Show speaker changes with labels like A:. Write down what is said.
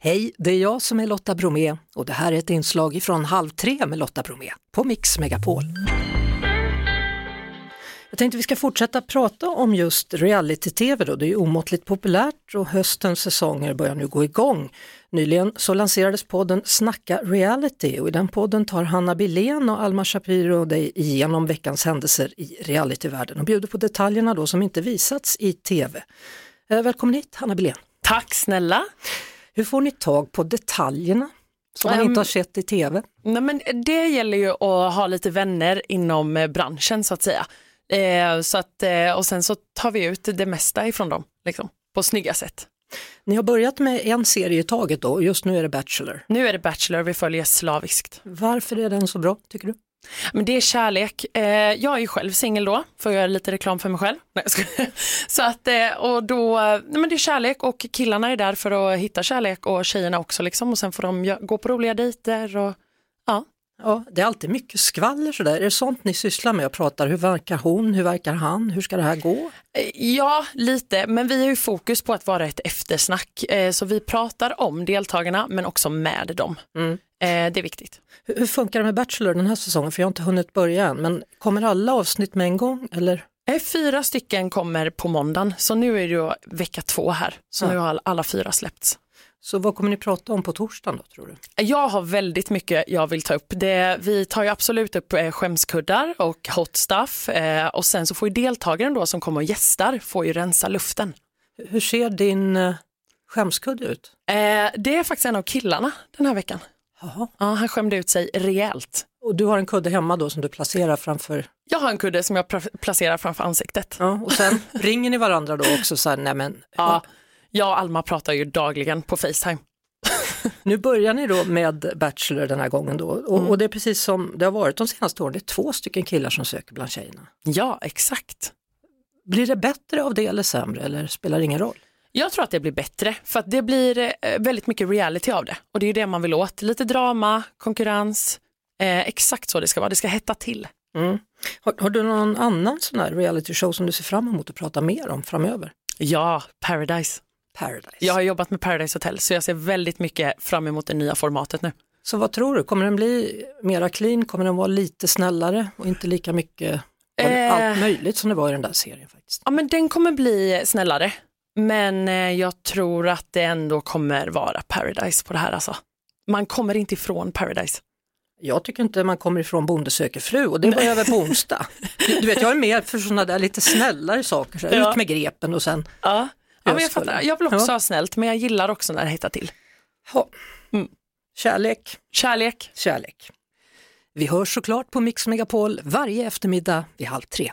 A: Hej, det är jag som är Lotta Bromé och det här är ett inslag från Halv tre med Lotta Bromé på Mix Megapol. Jag tänkte vi ska fortsätta prata om just reality-tv då, det är ju omåttligt populärt och höstens säsonger börjar nu gå igång. Nyligen så lanserades podden Snacka reality och i den podden tar Hanna Billén och Alma Shapiro dig igenom veckans händelser i realityvärlden och bjuder på detaljerna då som inte visats i tv. Eh, Välkommen hit Hanna Billén.
B: Tack snälla.
A: Hur får ni tag på detaljerna som man
B: Ehm,
A: inte har sett i tv?
B: Nej, men det gäller ju att ha lite vänner inom eh, branschen så att säga. Eh, så att, eh, och sen så tar vi ut det mesta ifrån dem liksom, på snygga sätt.
A: Ni har börjat med en serie i taget då, och just nu är det Bachelor.
B: Nu är det Bachelor vi följer slaviskt.
A: Varför är den så bra tycker du?
B: Men det är kärlek. Eh, jag är ju själv singel då, för att göra lite reklam för mig själv. Nej, jag skojar. så att, eh, och då, eh, nej, men det är kärlek och killarna är där för att hitta kärlek och tjejerna också liksom. Och sen får de gö- gå på roliga dejter och ja.
A: Ja, det är alltid mycket skvaller sådär. Är det sånt ni sysslar med och pratar? Hur verkar hon? Hur verkar han? Hur ska det här gå?
B: Eh, Ja, lite, men vi har ju fokus på att vara ett eftersnack. Eh, Så vi pratar om deltagarna men också med dem. Eh, Det är viktigt.
A: Hur, hur funkar det med Bachelor den här säsongen? För jag har inte hunnit börja än. Men kommer alla avsnitt med en gång eller?
B: Eh, Fyra stycken kommer på måndagen, så nu är det ju vecka två här. Så
A: Ja.
B: nu har all- alla fyra släppts.
A: Så vad kommer ni prata om på torsdagen då tror du?
B: Eh, Jag har väldigt mycket jag vill ta upp. Det, vi tar ju absolut upp eh, skämskuddar och hot stuff. Eh, Och sen så får ju deltagaren då som kommer och gästar får ju rensa luften.
A: Hur- Hur ser din eh, skämskudde ut?
B: Eh, Det är faktiskt en av killarna den här veckan.
A: Jaha.
B: Ja, han skämde ut sig rejält.
A: Och du har en kudde hemma då som du placerar framför
B: Jag har en kudde som jag pra- placerar framför ansiktet.
A: Ja, och sen ringer ni varandra då också så här, nej men,
B: Ja, jag och Alma pratar ju dagligen på Facetime.
A: nu börjar ni då med Bachelor den här gången då och,
B: Mm.
A: och det är precis som det har varit de senaste åren, det är två stycken killar som söker bland tjejerna.
B: Ja, exakt.
A: Blir det bättre av det eller sämre eller spelar det ingen roll?
B: Jag tror att det blir bättre för att det blir eh, väldigt mycket reality av det och det är ju det man vill åt. Lite drama, konkurrens, eh, exakt så det ska vara. Det ska hetta till.
A: Har, har du någon annan sån här reality show som du ser fram emot att prata mer om framöver?
B: Ja, Paradise.
A: Paradise.
B: Jag har jobbat med Paradise Hotel så jag ser väldigt mycket fram emot det nya formatet nu.
A: Så vad tror du, kommer den bli mera clean, kommer den vara lite snällare och inte lika mycket
B: Eh.
A: allt möjligt som det var i den där serien faktiskt?
B: Ja, men den kommer bli snällare. Men eh, jag tror att det ändå kommer vara Paradise på det här alltså. Man kommer inte ifrån Paradise.
A: Jag tycker inte man kommer ifrån Bonde söker fru och det var över på onsdag. Du vet, jag är med för sådana där lite snällare saker, så här,
B: Ja.
A: ut med grepen och sen,
B: Ja, ja men jag
A: skulle.
B: fattar. Jag vill också
A: Ja.
B: ha snällt, men jag gillar också när det hettar till.
A: ha.
B: Mm.
A: Kärlek,
B: Kärlek.
A: kärlek. Vi hörs såklart på Mix Megapol varje eftermiddag vid halv tre.